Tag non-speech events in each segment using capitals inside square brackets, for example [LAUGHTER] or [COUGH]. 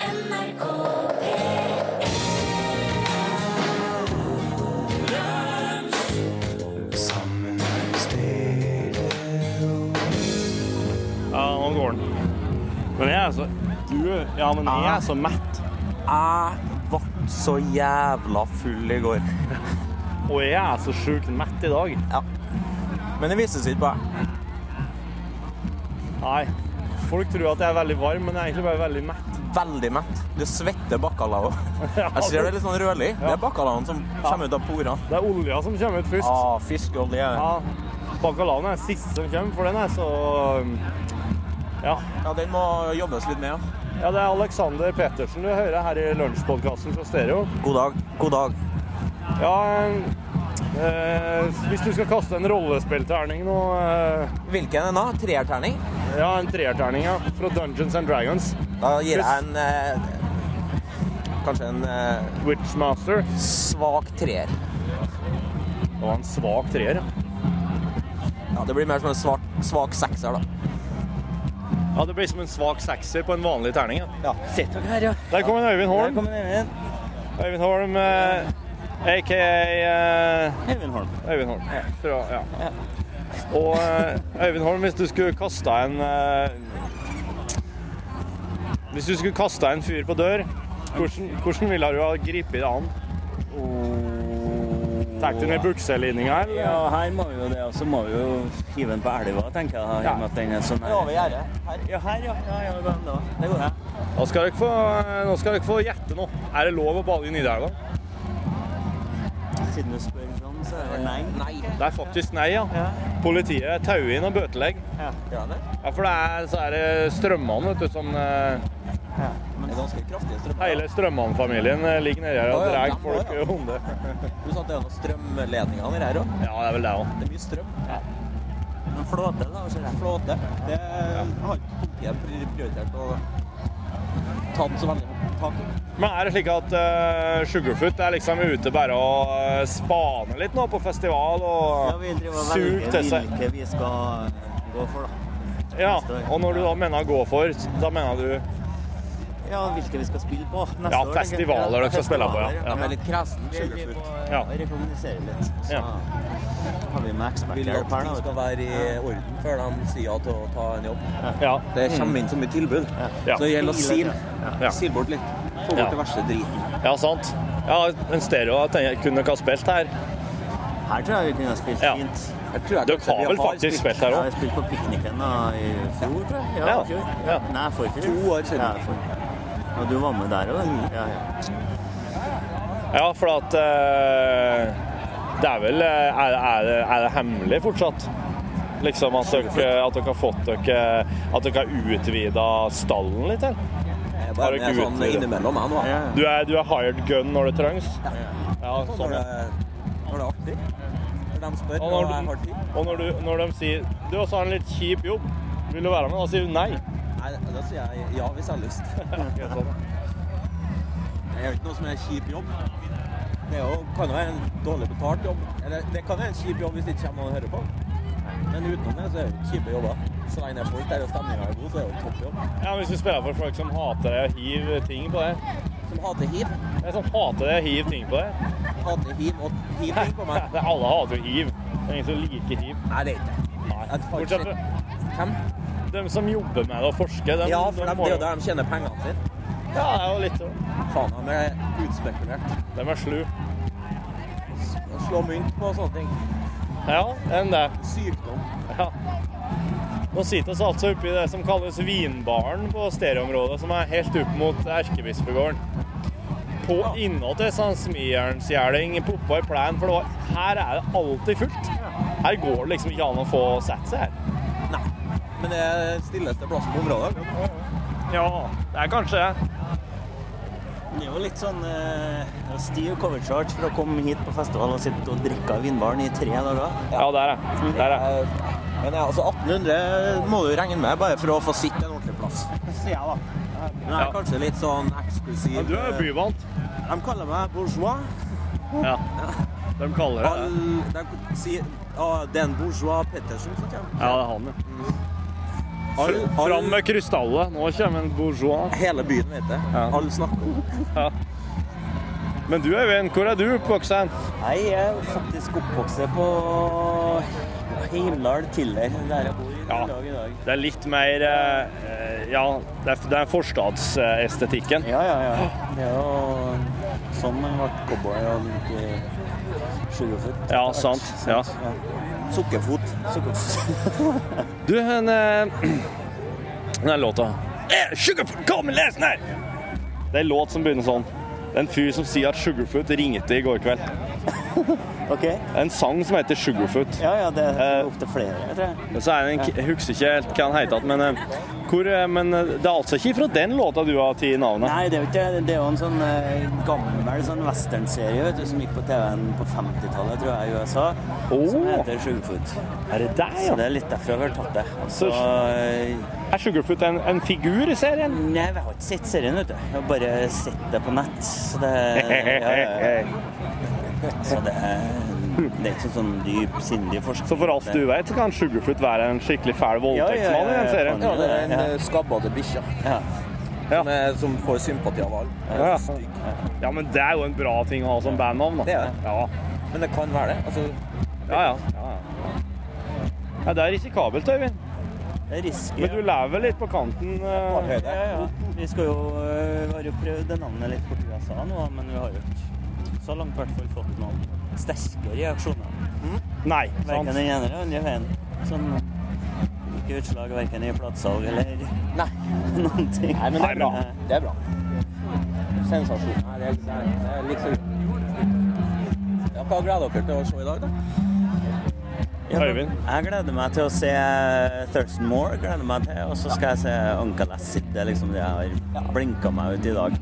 NRK Ja, nå går den. Men jeg er så Du Ja, men jeg Ah. er så mett. Jeg ble så jævla full i går. Og jeg er så sjukt mett i dag. Ja. Men det vises ikke på meg. Nei. Folk tror at jeg er veldig varm, men jeg er egentlig bare veldig mett. [LAUGHS] Veldig mett. Du svetter bacalao. Jeg ser det er litt sånn rødlig. Det er bacalaoen som kommer ut av porene. Det er olja som kommer ut først. Ah, fiskeolje. Ja. Bacalaoen er den siste som kommer, for den er så um, Ja. Ja, den må jobbes litt med. ja. ja det er Alexander Petersen du hører her i lunsjpodkasten fra Stereo. God dag. God dag. Ja, um, eh, hvis du skal kaste en rollespillterning nå eh, Hvilken en da? Treerterning? Ja, en treerterning ja, fra Dungeons and Dragons. Da gir jeg en eh, Kanskje en eh, Witchmaster. svak treer. Det var en svak treer. ja. Ja, det blir mer som en svart, svak sekser, da. Ja, det blir som en svak sekser på en vanlig terning. ja. Ja. Sett dere her, ja. Der kom en Øyvind Der Holm. kommer Øyvind. Øyvind Holm, eh, aka eh, Øyvind Holm. Øyvind Holm. Fra, ja. Og eh, Øyvind Holm, hvis du skulle kasta en eh, Hvis du skulle kasta en fyr på dør, hvordan, hvordan ville du ha gripet det an? Tar du ned bukselinninga, eller? Ja, her må vi jo det, og så må vi jo hive den på elva, tenker jeg. da, i og med at den er sånn her. Over gjerdet. Her. Ja, her, ja. ja, ja da, da. Det går ja. Nå skal dere få, nå skal dere få gjette nå. Er det lov å bade i Nidelva? Siden du spør sånn, så er det nei. Nei. Det er faktisk nei, ja. Politiet tauer inn og bøtelegger. Gjør han det? Ja, for det er, så er det strømmene, vet du, som eh, Det er ganske kraftige strømmer. Hele Strømmann-familien eh, ligger nedi her og Å, ja, drar dem folk også, ja. om det. Du sa at det er noen strømledninger nedi her òg. Ja, det er vel det òg. Det er mye strøm. En flåte, da, ser jeg. Flåte. Det har ikke politiet pri- prioritert å ta den så veldig tak i. Men er det slik at eh, Sugarfoot er liksom ute bare og eh, spaner litt nå på festival Ja, og vi driver og suger velger til seg? hvilke vi skal gå for, da. Ja, neste år. og når du da mener gå for, da mener du Ja, hvilke vi skal spille på neste Ja, år. tenker jeg. festivaler dere skal spille på, ja. festivaler, Ja. De er litt kresen, Vi driver sugarfoot. og- Ja. og rekommuniserer litt. og Så Ja. har vi med Vil eksperter at opp her, ting da. skal være i orden før de sier ja til å ta en jobb. Ja. Det kommer inn så mye tilbud, Ja. så det gjelder å sil. Ja. Sil bort litt. Få Ja. bort det verste driten. ja, sant. Ja, en stereo jeg tenker jeg kunne ikke ha spilt her. Her tror jeg vi kunne ha spilt Ja. fint. Jeg tror jeg Dere kanskje vi har vel faktisk spilt spilt her Ja, òg? jeg spilte på pikniken da, i fjor, tror jeg. Ja. i fjor. Ja. Nei, forfjor. To år siden. Mm. Ja, forfjor. og du var med der òg? Ja, ja. Ja, for at eh, Det er vel eh, Er, er, det- er det hemmelig fortsatt? Liksom at dere, at dere har fått dere At dere har utvida stallen litt her? Jeg Har bare dere er sånn utvidet? innimellom, jeg nå. ja. jeg. Du er, du er hired gun når det trengs? Ja, sånn Når ja. det når det er artig. Når de spør og Og jeg når, har du, tid. og når, du, når de sier Du også har en litt kjip jobb, vil du være med? Da sier du nei. Nei, da sier jeg ja hvis jeg har [LAUGHS] lyst. Jeg gjør ikke noe som er en kjip jobb. Det er jo, kan jo være en dårlig betalt jobb. Eller det kan være en kjip jobb hvis det ikke kommer noen og hører på. Men utenom det så er det jo kjipe jobber. Så lenge det er folk der og stemninga er god, så er det jo en topp jobb. Ja, Hvis du spiller for folk som hater deg og hiver ting på deg Som hater hiv. Jeg som hater deg og hiver ting på deg. Hater hiv og hiv ting på Nei, meg. det- [LAUGHS] Alle hater jo hiv. Det er ingen som liker hiv. Nei, det er ikke det. Nei. Jeg tar Bortsett fra ikke Hvem? de som jobber med det og forsker. De, Ja, for de dem- må det er jo jo- der de tjener pengene sine. Ja, det er jo litt sånn. Faen, de er utspekulert. De er slu. Å Slå mynt på og sånne ting. Ja, enn det. Sykdom. Ja. Nå sitter vi altså oppe i det som kalles vinbaren på stereoområdet, som er helt opp mot Erkebispegården. På innåtil Sandsmijernsgjerding, poppa i plen, for det var, her er det alltid fullt. Her går det liksom ikke an å få satt seg her. Nei. Men det er den stilleste plassen på området. Ja, det er kanskje det. Det er jo litt sånn uh, stiv cover charge for å komme hit på festival og sitte og drikke av vinbaren i tre dager. Ja, der er det. Der er det. Eh, Men ja, altså 1800 må du regne med bare for å få sitte en ordentlig plass. Sier jeg, da. Men jeg Ja. er kanskje litt sånn eksklusiv. Eh, Men du er jo byvant. De kaller meg bourgeois. Ja. De kaller det All, det. de sier ah, det er en bourgeois Pettersen som kommer. Ja, det er han, ja. All- all- Fram med krystallet. Nå kommer en bourgeois. Hele byen vet det. Ja. Alle snakker om det. Men du, Øyvind, hvor er du oppvokst hen? Nei, jeg er jo faktisk oppvokst på Heimdal, Tiller, der jeg bor i Ja. dag i dag. Det er litt mer eh, Ja, det er, det er forstadsestetikken. Ja, ja, ja. Det er jo sånn man ble cowboy og gikk i sjuerfot. Ja, sant. Ja. Ja. Sukkerfot. Du, den Den låta Eh, Sugarfoot, kom og les den her! Det er en låt som begynner sånn. Det er en fyr som sier at Sugarfoot ringte i går kveld. Det OK. er en sang som heter Sugarfoot. Ja, ja, det Eh. er opptil flere, tror jeg. Men så er det en, jeg husker ikke helt hva han heter, men, eh, hvor, eh, men eh, det er altså ikke fra den låta du har tatt navnet? Nei, det er jo ikke det. Det er jo en sånn eh, gammel sånn westernserie vet du, som gikk på TV-en på 50-tallet, tror jeg, i USA. Som Åh. heter Sugarfoot. Er det deg, Så det er litt derfor jeg har tatt det. Og Så- Så eh, Er Sugarfoot en, en figur i serien? Nei, jeg har ikke sett serien, vet du. Jeg har bare sett det på nett. Så det ja, [LAUGHS] ja, ja. Så det er, det er ikke sånn dyp, sindig forskning. Så for alt du vet, så kan Sugarfoot være en skikkelig fæl voldtektsmann i den serien. Ja, det er en eh, skabbete bikkje Ja. Ja. som, er- som får sympati av alle. Den Ja. er så stygg. Ja, men det er jo en bra ting å ha som bandnavn, da. Det er det. Ja, Men det kan være det. Altså, ja. ja. ja, ja. Nei, det er risikabelt, Øyvind. Det er risky. Men du lever vel litt på kanten. bare eh. høyde. Ja, ja. Vi skal jo, eh, har jo prøvd det navnet litt borti USA nå, men vi har jo ikke så langt i hvert fall fått noen sterke reaksjoner. Nei, sant. Verken den ene eller den andre veien. Som ikke utslag verken i platesalg eller Nei. [LAUGHS] noen ting. Nei, men det Nei, er men- bra. Det er bra. Sensasjon. Nei, det er, det er, det er liksom... Ja, hva gleder dere til å se i dag, da? Ja, men Øyvind? Jeg gleder meg til å se Thurston Moore, gleder meg til, og så skal jeg se Uncle Acid. Det er liksom det jeg har blinka meg ut i dag.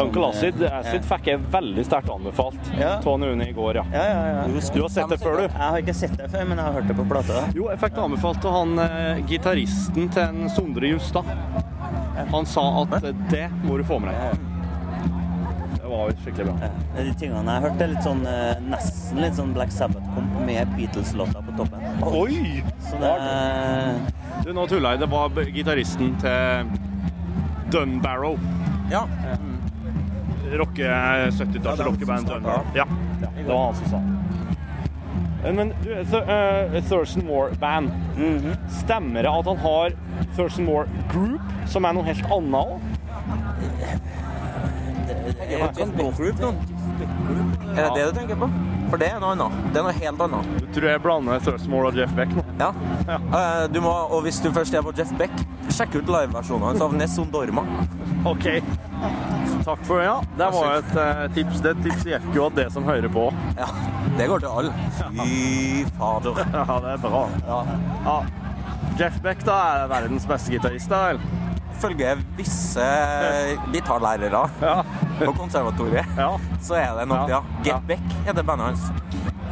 Uncle Acid, eh, Acid fikk jeg veldig sterkt anbefalt Ja. av Une i går, ja. Ja, ja, ja. Du har sett det før, du? Jeg har ikke sett det før, men jeg har hørt det på plata. Jo, jeg fikk det anbefalt av han eh, gitaristen til en Sondre Justad. Han sa at eh, det må du få med deg. Det var skikkelig bra. Ja, De tingene jeg har hørt, er litt sånn eh, nesten litt sånn Black Sabbath-komp med Beatles-låter på toppen. Eh, Oi! Så det er Du, nå tulla jeg. Det var b- gitaristen til Dunbarrow. Ja. Rocke eh, Ja, 70-talls det er han som rockeband startet. Dunbarrow. Ja. ja, det var han som sa det. Eh, Men du, Th eh, Thurston Moore-band. Stemmer det at han har Thurston Moore Group, som er noe helt annet òg? Jeg har ikke en group nå. Er det det du tenker på? For det er noe annet. Det er noe helt annet. Du tror jeg blander Thurston Moore og Jeff Beck nå? Ja. Eh, Du må, og hvis du først er på Jeff Beck, sjekk ut liveversjonen hans av Nessun Dorma. OK. Takk for ja. Det var et eh, tips. Det tipset gikk jo at det som hører på. Ja, det går til alle. Fy fader. Ja, det er bra. Ja. Ja. Jeff Beck da er verdens beste gitarist, da vel? Følge visse gitarlærere Ja. på konservatoriet, ja. så er det nok, Ja. ja. Ja. Get Beck heter bandet hans.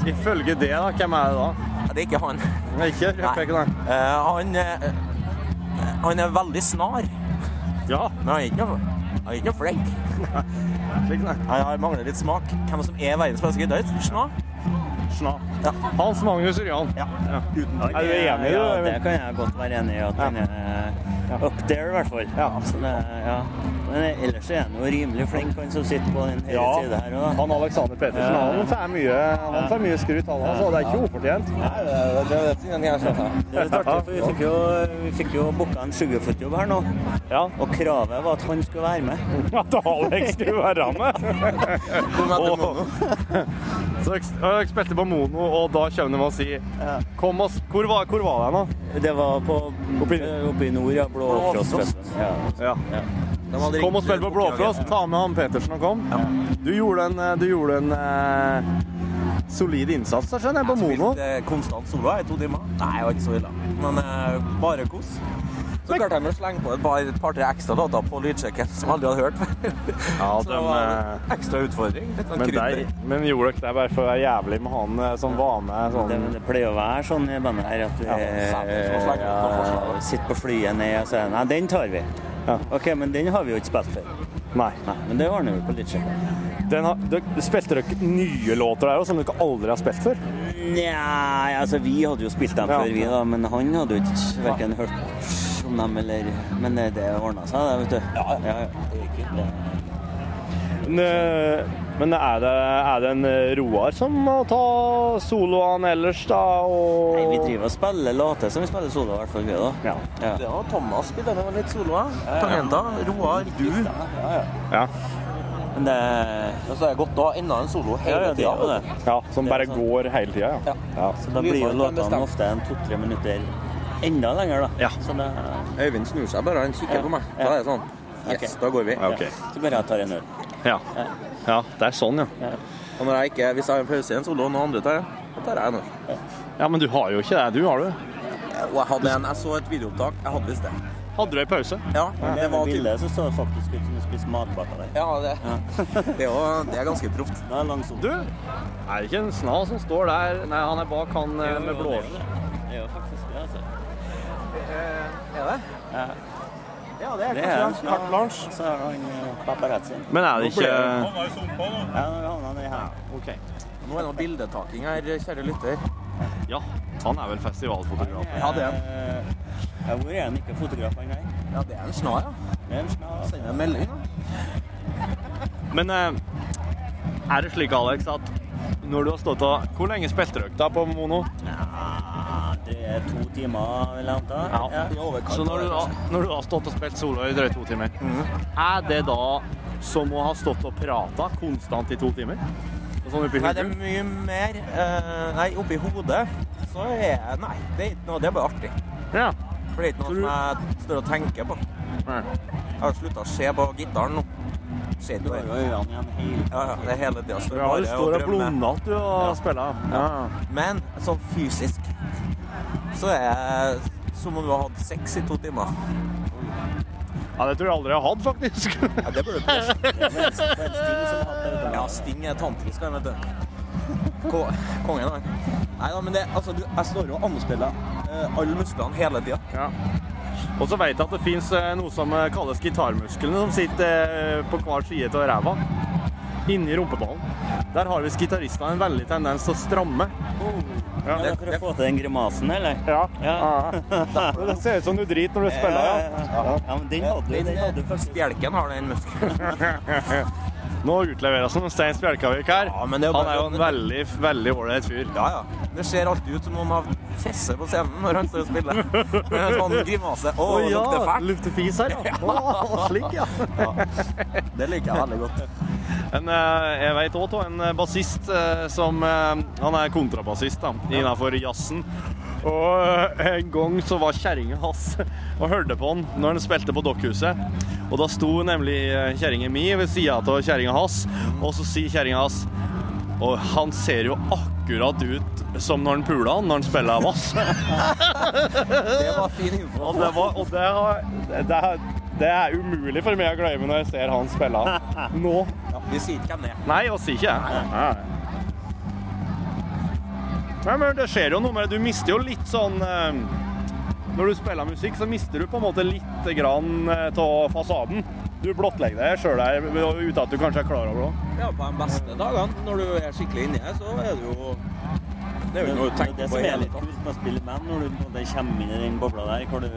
Ifølge det, da, hvem er det da? Ja, Det er ikke han. Nei, Ikke Jeff Beck, nei. Eh, han, eh, han er veldig snar, Ja, men han er ikke noe, han er ikke noe flink. slik, nei. Han har- mangler litt smak. Hvem som er verdens beste gitarist? Sna? Sna. Ja. Hans Magnus Ørjan. Ja. Ja. Uten Er du enig i ja, det? det Øyvind? kan jeg godt være enig i. At den er up there, i hvert fall. Ja. Så det, er- ja. Men ellers er han jo rimelig flink, han som sitter på den hele siden her. Og, Han Alexander Pettersen Ja. han får mye, han får mye skryt, han altså. Det er ikke ufortjent. Nei, det- det- det- det- jeg skjønner. det er litt artig, for vi fikk jo, vi fikk jo booka en sugarfoot-jobb her nå, Ja. og kravet var at han skulle være med. [LAUGHS] At Alex skulle være med. Kom etter Og- Mono. Så jeg, jeg spilte på Mono, og da kommer de og sier Ja. Kom oss, hvor var, hvor var jeg nå? Det var på, Oppi- oppe, i nord, ja. Blå Frostfest. Ja. Ja. Ja. De hadde Kom og ringt- spill på Blåfrost. Ta med han Petersen og kom. Du gjorde en, eh, du gjorde en eh, solid innsats, da, skjønner jeg, på Mono. Spilte eh, konstant solo her i to timer. Nei, jeg var ikke så ille. Men eh, bare kos. Så klarte jeg å slenge på et par, et par-tre ekstra låter på lydsjekken som jeg aldri hadde [LAUGHS] hørt. Ja, så det dem, var eh, en ekstra utfordring. Litt sånn Men, krydder. der, men gjorde dere det bare for å være jævlig med han eh, som var med sånn Det, det pleier å være sånn i bandet her at vi Ja, samme som å slenge ut noen forslag, da. ja, sitter på flyet ned og sier nei, den tar vi. Ja. OK, men den har vi jo ikke spilt før. Nei. Nei, men det ordner vi på litt sjøl. Den har, dere, spilte dere nye låter der òg, som dere aldri har spilt før? Nja, altså vi hadde jo spilt dem Ja. før, vi da, men han hadde jo ikke verken hørt om dem, eller Men eh, det ordna seg, det, vet du. Ja, ja. Det gikk jo. Det- Men, eh, Men er det, er det en eh, Roar som må ta soloene ellers, da? Og... Nei, vi driver og spiller later som vi spiller solo, i hvert fall vi, da. Ja. Ja. Det var Thomas spiller med litt soloer. Tangenter. Roar, du. Ja, ja. Ja. Men det Men så er det godt å ha enda en solo Ja, hele ja, det er jo tida. det. ja. Som bare Det er sant. går hele tida, ja. Ja. ja. Så da blir jo låtene ofte en to-tre minutter enda lenger, da. Ja. Så, det, Øyvind snur seg bare, han kikker Ja. på meg. Ja. Da er det sånn. Yes, Ok. da går vi. Ja, ok. så bare jeg tar en øl. Ja. ja. Det er sånn, ja. Og når jeg ikke, hvis jeg har en pause i en solo og noen andre tar det, da tar jeg en. øl. Ja, Men du har jo ikke det, du, har du? Og jeg hadde en, jeg så et videoopptak. Jeg hadde visst det. Hadde du ei pause? Ja, Men det det var typ... bildet så så det faktisk ut som du spiste matpakke der. Ja, det, det, er jo, det er ganske proft. Det er lang solo. Du, er det ikke en snal som står der? Nei, han er bak han eh, med blås. Det er jo faktisk det, altså. Er det? Ja, det Det er en snart lunsj. Så er han eh, paparazzi. Men er det ikke Ja, nå havna han i her. Ok. Nå er det noe bildetaking her, kjære lytter. Ja, han er vel festivalfotograf. Ja, det er han. han. Ja, hvor er han ikke fotograf han her? Ja, det er en snar, ja. Det er en snar. altså. Send en melding, da. Men eh, er det slik, Alex, at når du har stått og Hvor lenge spilte dere da på mono? Ja, det er to timer, vil jeg anta. Ja. I overkant. Så når du, da, når du har stått og spilt solo i drøyt to timer, er det da som å ha stått og prata konstant i to timer? Og Sånn oppi Nei, det er hodet? mye mer eh, Nei, oppi hodet så er jeg Nei, det er ikke noe. Det er bare artig. Ja. For det er ikke Så noe du- som jeg står og tenker på. Ja. Jeg har slutta å se på gitaren nå. Ser Du ikke har det. jo øynene igjen hele Ja, ja, det er hele tida står Ja, du bare står og og drømmer. blonder at du har spiller. Ja. Men sånn fysisk så er jeg som om du har hatt sex i to timer. ja, det tror jeg aldri jeg har hatt, faktisk. [LAUGHS] Ja, det [LAUGHS] burde du prøve. Ja, Ja, Sting er tantrisk, han, vet du. Ko kongen, han. Nei da, men det, altså, du, jeg står og anspiller eh, alle musklene hele tida. Ja. Og så vet jeg at det fins noe som eh, kalles gitarmusklene, som sitter eh, på hver side av ræva. Inni rumpeballen. Der har visst gitaristene en veldig tendens til å stramme. Ja. det er for å få til den grimasen, eller? Ja. Ja. [LAUGHS] Det ser ut som du driter når du spiller. ja. ja men den hadde du. Den hadde du først. Bjelken har den muskelen. Ja. Nå utleveres han Stein Spjelkavik her. Ja, men det er jo han er bare- sånn. jo en veldig veldig ålreit fyr. Ja, ja. Det ser alltid ut som om han fesser på scenen når han står og spiller. Med en sånn grimase. Å, Å ja, lukter fælt. lukter fis her, ja. Å, slik, [LAUGHS] ja. Det liker jeg veldig godt. Men eh, jeg vet òg av en eh, bassist eh, som eh, Han er kontrabassist da, innenfor jazzen. Og eh, en gang så var kjerringa hans [LAUGHS] og hørte på han når han spilte på Dokkhuset. Og da sto nemlig eh, kjerringa mi ved sida av kjerringa hans, og så sier kjerringa hans Og han ser jo akkurat ut som når han pula han når han spiller vass. Det var fin info. Og det, var, og det, har- det, er- det er umulig for meg å glemme når jeg ser han spille nå. Ja, vi sier ikke hvem det er. Nei, oss ikke. Nei. Nei, men det skjer jo noe med det. Du mister jo litt sånn eh, Når du spiller musikk, så mister du på en måte litt grann eh, av fasaden. Du blottlegger deg sjøl der uten at du kanskje er klar over det. Ja, på de beste dagene, når du er skikkelig inni det, så er det jo Det er jo noe du Det er tenker det på som i er hele litt tatt. kult med å spille med når du på en måte kommer inn i den bobla der, hvor du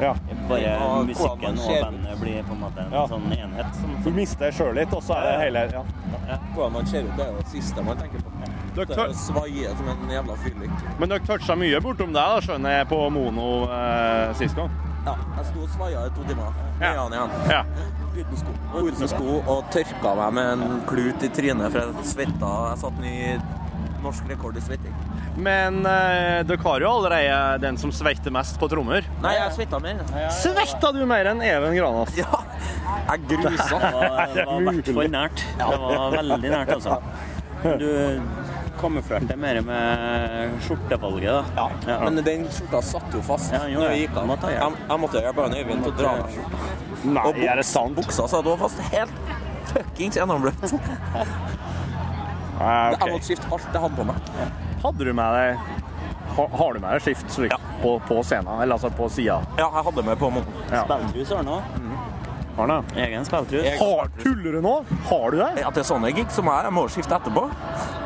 Ja. bare Ja, hvordan man musikken og ser ut. bandet blir på en måte en Ja. sånn enhet. Sånn, Du mister deg sjøl litt, og så er det hele ja. [LAUGHS] Hvordan man ser ut, det er jo det siste man tenker på. Dere Det er tør- å svaie som en jævla fyllik. Men dere toucha mye bortom deg, da, skjønner jeg, på mono eh, sist gang. Ja, jeg sto og svaia i to timer. Ja. Ja. Igjen, igjen. Ja. Uten sko. Uten sko og tørka meg med en klut i trynet, for jeg svetta. Jeg satte ny norsk rekord i svetting. Men eh, dere har jo allerede den som svetter mest på trommer. Nei, jeg svetta mer. Svetta du mer enn Even Granas? [LAUGHS] Ja! Jeg grusa. Det var- det var i hvert fall nært. Det var veldig nært, altså. Du kamuflerte mer med skjortevalget, da. Ja. Men den skjorta satt jo fast Ja, den gjorde når jeg det. gikk av. Du måtte ha hjelp. Jeg, jeg måtte hjelpe han Øyvind til å dra av meg skjorta. Nei, Og buks- er det sant? Buksa satt også fast. Helt fuckings gjennombløtt. Nei, Ah, ok. Jeg måtte skifte alt jeg hadde på meg. Hadde du med deg Har, har du med deg skift slik, på, på scenen? Eller altså på sida? Ja, jeg hadde med på meg. Ja. Spelthus har nå. Har han det? Egen spillkrus. Jeg- Har, tuller du nå? Har du det? At det er sånne gig som jeg, jeg må skifte etterpå.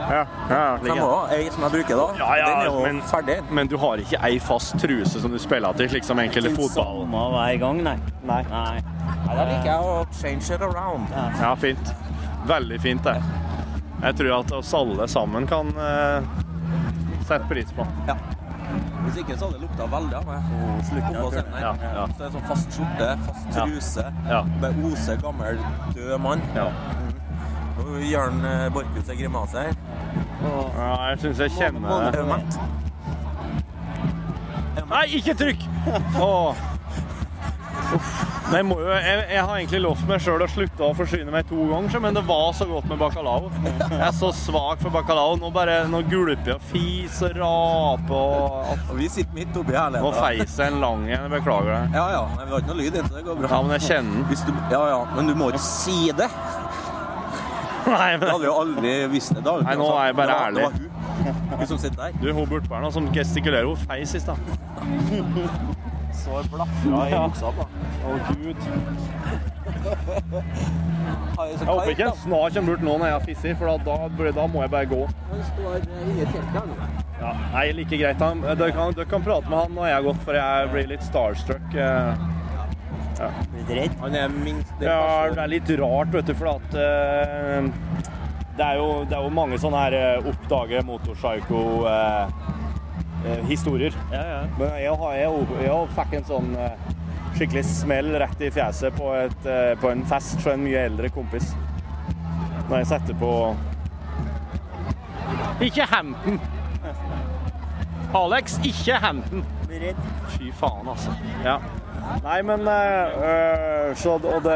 Ja. Så jeg må ha ei som jeg bruker da. Ja, ja, Den er jo men- ferdig. Men du har ikke ei fast truse som du spiller til, slik som enkelte fotball? Samme hver gang, nei. Nei. Nei. Nei, da liker jeg å change it around. Ja, fint. Veldig fint, det. Jeg tror at oss alle sammen kan eh, sette pris på. Ja. Hvis ikke så hadde det lukta veldig av meg. Slutt på scenen her. Ja, ja. Så det er sånn fast skjorte, fast Ja. truse. Ja. Med ose gammel, død mann. Ja. Og Jørn eh, Borchhus er grimase her. Og Ja, jeg syns jeg kjenner det. Månedsøvmett. Nei, ikke trykk! Åh. Uff. Nei, jeg, må jo, jeg, jeg har egentlig lovt meg sjøl å slutte å forsyne meg to ganger, så, men det var så godt med bacalao. Jeg er så svak for bacalao. Nå bare nå gulper jeg og fiser og raper og alt. Og vi sitter midt oppi herligheten. Nå feiser jeg en lang en. Jeg beklager det. Ja, ja. Nei, vi har ikke noe lyd inn, så det går bra. Ja, men jeg kjenner den. [LAUGHS] Hvis du, ja, ja, men du må ikke si det. Det Nei, men hadde vi jo aldri visst det. da. Nei, nå er jeg bare Det var- Det var hun. Hun som sitter der. Du, hun Burtberna som gestikulerer, hun feis i stad. Så blafra i buksa på. Å, gud. Har jeg så Jeg håper kite, ikke da? en snar kommer bort nå når jeg fisser, for da, da, da må jeg bare gå. Han står eh, inni teltet her nå. Ja, nei, like greit. Han, dere, kan, dere kan prate med han når jeg har gått, for jeg blir litt starstruck. eh. Litt redd. Han er minst det Ja, personen. det er litt rart, vet du, for at eh, det, er jo, det er jo mange sånne her eh, oppdage motorpsycho-historier. Ja, ja. eh, Men jeg, har, jeg, jeg fikk en sånn eh, skikkelig smell rett i fjeset på, et, eh, på en fest fra en mye eldre kompis. Når jeg setter på Ikke Hampton! Alex, ikke Hampton! Blir redd. Fy faen, altså. Ja. Nei, men eh, øh, så, Og det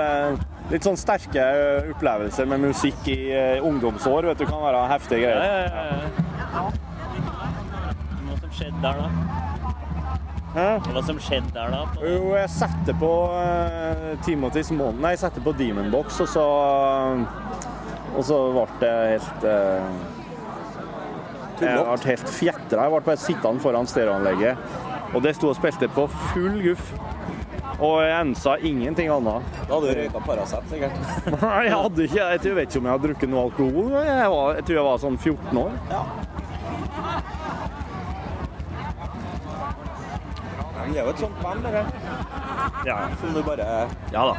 Litt sånn sterke øh, opplevelser med musikk i øh, ungdomsår vet du, kan være heftige Ja, greier. ja, ja. ja. Hva som skjedde der, da? Hæ? Hva som skjedde der, da? på- Jo, jeg setter på uh, Timothys måned. Nei, jeg setter på Demon Box, og så eh, Og så ble det helt eh, Jeg ble Tullete. helt fjetra. Jeg ble bare sittende foran stereoanlegget. Og det sto og spilte på full guff. Og jeg ensa ingenting annet. Da hadde du røyka Paracet, sikkert. Nei, jeg hadde ikke Jeg tror- jeg vet ikke om jeg har drukket noe alkohol. men Jeg, var, jeg tror jeg var sånn 14 år. Men det er jo et sånt band, det der. Ja, Som du bare ja da.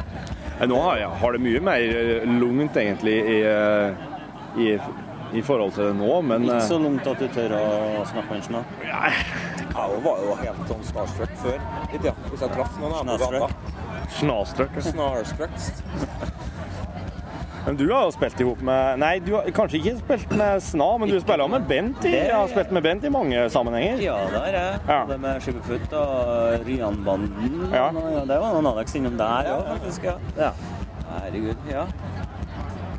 Men Nå har, jeg, har det mye mer eh, lugnt, egentlig, i, eh, i, i forhold til det nå, men Ikke eh, [LAUGHS] så langt at du tør å snakke med en snart. Ja, hun var jo helt sånn starstruck før i tida. Hvis jeg traff noen her på Snarstruck. gata. Snastrøk. Snarstruck. Men du har jo spilt ihop med Nei, du har kanskje ikke spilt med Sna, men du spiller jo med Bent i, Det- har spilt med Bent i mange sammenhenger. Ja, der er jeg. Ja. Det med Skipperfoot og Ryanbanden. Ja. Ja, det var noen Alex innom der òg, faktisk. ja. Ja. Herregud, ja.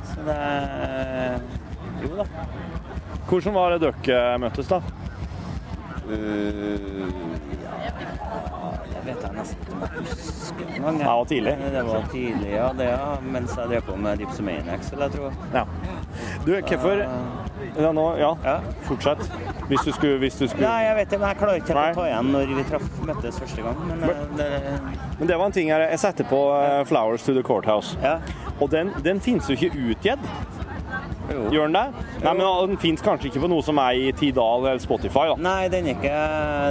Så det er- Jo da. Hvordan var det dere eh, møttes, da? Det vet jeg nesten ikke om jeg husker engang. Det var tidlig. Det var tidlig, ja. det ja. Mens jeg drev på med Dipsomaniacs, vil jeg tro. Ja. Du, hvorfor ja, nå, ja. Ja. fortsett. Hvis du skulle, hvis du skulle. Nei, jeg vet ikke, men jeg klarer ikke helt Nei. å ta igjen når vi traff, møttes første gang. Men eh, det, Men det var en ting jeg, jeg satte på eh, 'Flowers to the Courthouse'. ja. Og den, den finnes jo ikke utgitt, Jo. gjør den det? Nei, men Den finnes kanskje ikke på noe som er i Tidal eller Spotify, da. Nei, den er ikke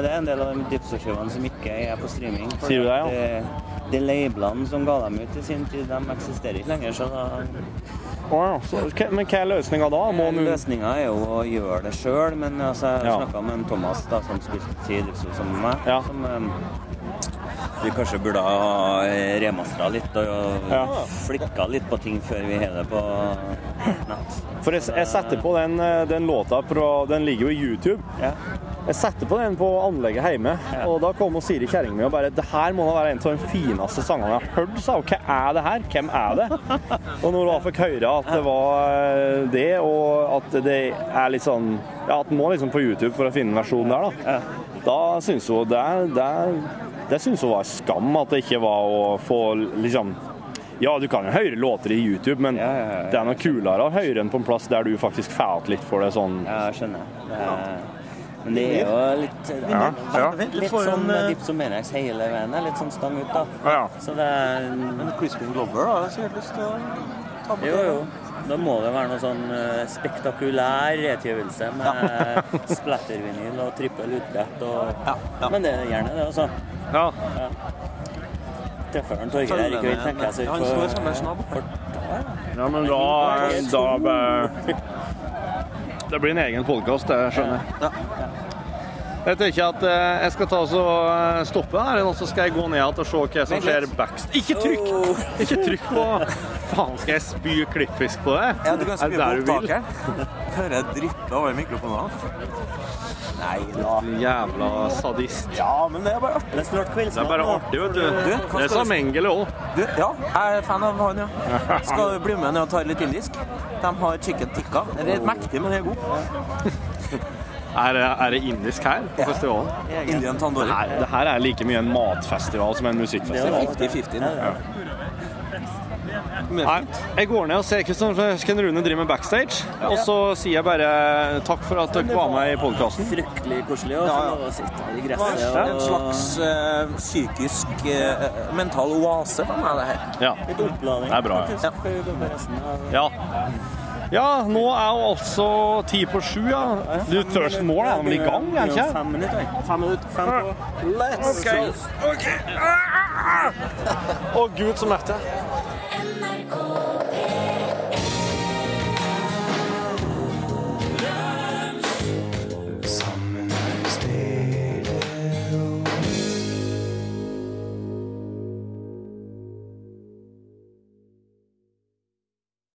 Det er en del av de dipsoskivene som ikke er på streaming. fordi Sier du det, ja? at, eh, De labelene som ga dem ut i sin tid, de eksisterer ikke lenger, så da Å, ja. Så, hva- men hva er løsninga da? Må man- Løsninga er jo å gjøre det sjøl, men altså, jeg Ja. snakket snakka med en Thomas da, som spilte i Dipso sammen med meg, Ja. som eh, vi kanskje burde ha remastera litt og Ja. flikka litt på ting før vi har det på nett. For jeg, jeg setter på den, eh, den låta på, Den ligger jo i YouTube. Ja. Jeg setter på den på anlegget hjemme, Ja. og da kom og Siri kjerringa mi og bare Det her må da være en av de fineste sangene jeg har hørt, sa hun. Hva er det her? Hvem er det? og når hun da fikk høre at det var eh, det, og at det er litt sånn Ja, at en må liksom på YouTube for å finne en versjon der, da. Ja. Da syns hun det, det, det syns hun var skam at det ikke var å få liksom ja, du kan jo høre låter i YouTube, men Ja, ja, ja, ja. det er noe kulere å høre enn på en plass der du faktisk får igjen litt for det sånn Ja, jeg skjønner. Det er, Men det er jo litt Ja, ja. Litt, Du får sånn en, eh, Dipsomenax hele veien. er Litt sånn stang ut, da. Ja, ja. Så det er Men Crispin Glover har sikkert lyst til å ta med Jo, jo. Da må det være noe sånn eh, spektakulær retgivelse med [LAUGHS] splattervinyl og trippel utbrett og Ja, ja. Men det er gjerne det, altså. Ja. Treffer han Torgeir her i kveld, tenker jeg, så Han står som en vi snabb. ja, men da Da bæ- Det blir en egen podkast, det skjønner jeg. Ja. Jeg tenker at eh, jeg skal ta og så, eh, stoppe her, og så skal jeg gå ned igjen og se hva som skjer backst... Ikke trykk! Oh. Ikke trykk på Faen, skal jeg spy klippfisk på deg? Ja, du kan Er det spille på der du vil? opptakeren. Hører jeg drippe over mikrofonene. Nei da. Jævla sadist. Ja, men det er bare artig. får snart Det er kveldsmat. bare nå. artig, vet Du, hva du. skal Det du- sa Mengele òg. Du, ja, jeg er fan av han, ja. Skal du bli med ned og ta litt indisk? De har chicken tikka. Den er mektig, men den er god. Er, det- er det indisk her på festivalen? Indian Det tandoori. her, det her er like mye en matfestival som en musikkfestival. 50-50. nå. Men Nei, jeg går ned og ser Kristian Ken Rune driver med backstage. Og så sier jeg bare takk for at dere var med i podkasten. Fryktelig koselig å Ja, få ja. lov å sitte her i Det var gresset en slags eh, psykisk eh, mental oase for meg, det her. Ja. Litt oppladning. Det er bra, ja. faktisk, før vi går på resten av- ja. Ja, nå er jo altså ti på sju, ja. Du, Thurston Moore er vel i gang, er han Det er ikke? Fem minutter. jeg. Fem minutter. Fem på. Let's Å, gud, som er det.